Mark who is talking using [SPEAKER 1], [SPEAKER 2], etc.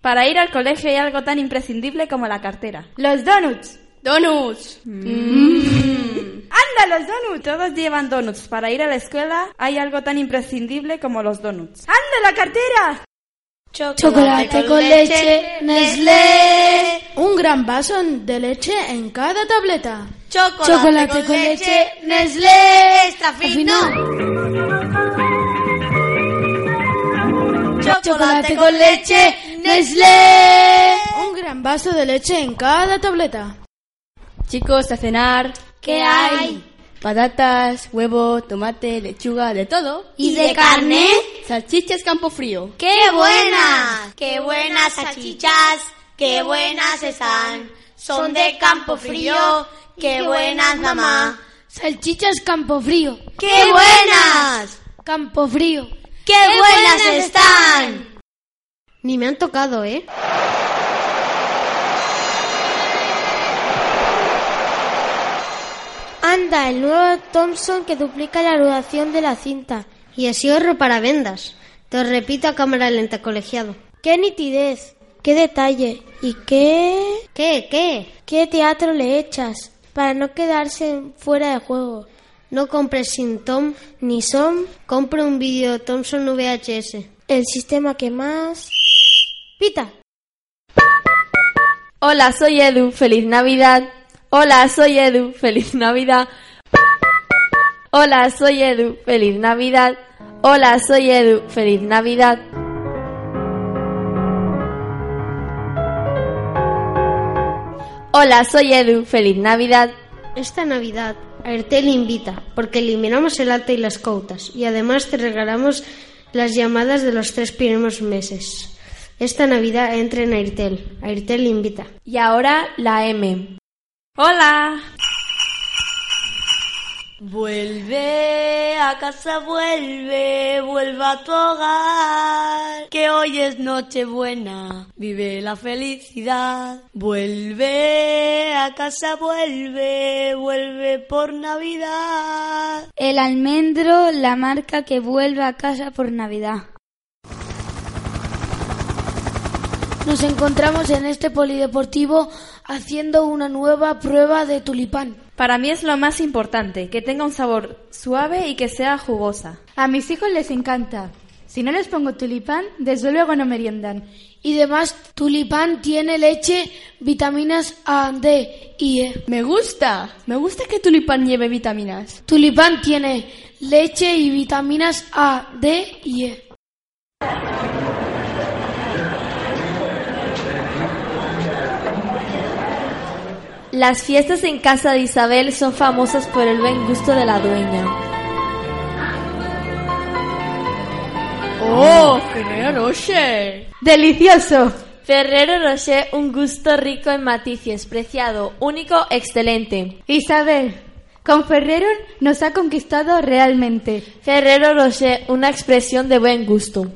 [SPEAKER 1] para ir al colegio hay algo tan imprescindible como la cartera.
[SPEAKER 2] Los donuts.
[SPEAKER 3] Donuts.
[SPEAKER 1] ¡Anda, los donuts! Todos llevan donuts. Para ir a la escuela hay algo tan imprescindible como los donuts. ¡Anda, la cartera!
[SPEAKER 4] Chocolate con leche, Nestlé.
[SPEAKER 2] Un gran vaso de leche en cada tableta.
[SPEAKER 3] Chocolate,
[SPEAKER 4] Chocolate con leche, Nestlé.
[SPEAKER 3] Está
[SPEAKER 4] Afino.
[SPEAKER 3] fino.
[SPEAKER 4] Chocolate con leche, Nestlé.
[SPEAKER 2] Un gran vaso de leche en cada tableta.
[SPEAKER 5] Chicos, a cenar.
[SPEAKER 4] ¿Qué hay?
[SPEAKER 5] Patatas, huevo, tomate, lechuga, de todo.
[SPEAKER 4] ¿Y de carne?
[SPEAKER 5] Salchichas campo frío.
[SPEAKER 4] ¡Qué buenas! ¡Qué buenas salchichas! ¡Qué buenas están! Son de campo frío. ¡Qué buenas, mamá!
[SPEAKER 6] Salchichas Campofrío.
[SPEAKER 4] ¡Qué buenas!
[SPEAKER 6] Campofrío.
[SPEAKER 4] ¡Qué buenas están!
[SPEAKER 6] Ni me han tocado, ¿eh?
[SPEAKER 7] Anda, el nuevo Thompson que duplica la duración de la cinta.
[SPEAKER 6] Y así ahorro para vendas. Te repito a cámara lenta, colegiado.
[SPEAKER 7] ¡Qué nitidez! ¡Qué detalle! ¿Y qué...
[SPEAKER 6] ¿Qué? ¿Qué?
[SPEAKER 7] ¿Qué teatro le echas para no quedarse fuera de juego?
[SPEAKER 6] No compres sin Tom.
[SPEAKER 7] Ni son
[SPEAKER 6] Compre un vídeo Thompson VHS.
[SPEAKER 7] el sistema que más... ¡Pita!
[SPEAKER 5] Hola, soy Edu. Feliz Navidad. Hola, soy Edu. Feliz Navidad. Hola, soy Edu. Feliz Navidad. Hola, soy Edu. Feliz Navidad. Hola, soy Edu. Feliz Navidad.
[SPEAKER 6] Esta Navidad, Airtel invita, porque eliminamos el alta y las cautas, y además te regalamos las llamadas de los tres primeros meses. Esta Navidad entra en Airtel. Airtel invita.
[SPEAKER 5] Y ahora la M.
[SPEAKER 1] ¡Hola!
[SPEAKER 3] Vuelve a casa, vuelve, vuelve a tu hogar, que hoy es Nochebuena, vive la felicidad. Vuelve a casa, vuelve, vuelve por Navidad.
[SPEAKER 4] El almendro, la marca que vuelve a casa por Navidad.
[SPEAKER 6] Nos encontramos en este polideportivo haciendo una nueva prueba de tulipán.
[SPEAKER 1] Para mí es lo más importante, que tenga un sabor suave y que sea jugosa.
[SPEAKER 2] A mis hijos les encanta. Si no les pongo tulipán, desde luego no meriendan.
[SPEAKER 6] Y además, tulipán tiene leche, vitaminas A, D y E.
[SPEAKER 5] Me gusta. Me gusta que tulipán lleve vitaminas.
[SPEAKER 6] Tulipán tiene leche y vitaminas A, D y E.
[SPEAKER 5] Las fiestas en casa de Isabel son famosas por el buen gusto de la dueña. ¡Oh, Ferrero Rocher!
[SPEAKER 2] ¡Delicioso!
[SPEAKER 5] Ferrero Rocher, un gusto rico en matices, preciado, único, excelente.
[SPEAKER 2] Isabel, con Ferrero nos ha conquistado realmente.
[SPEAKER 5] Ferrero Rocher, una expresión de buen gusto.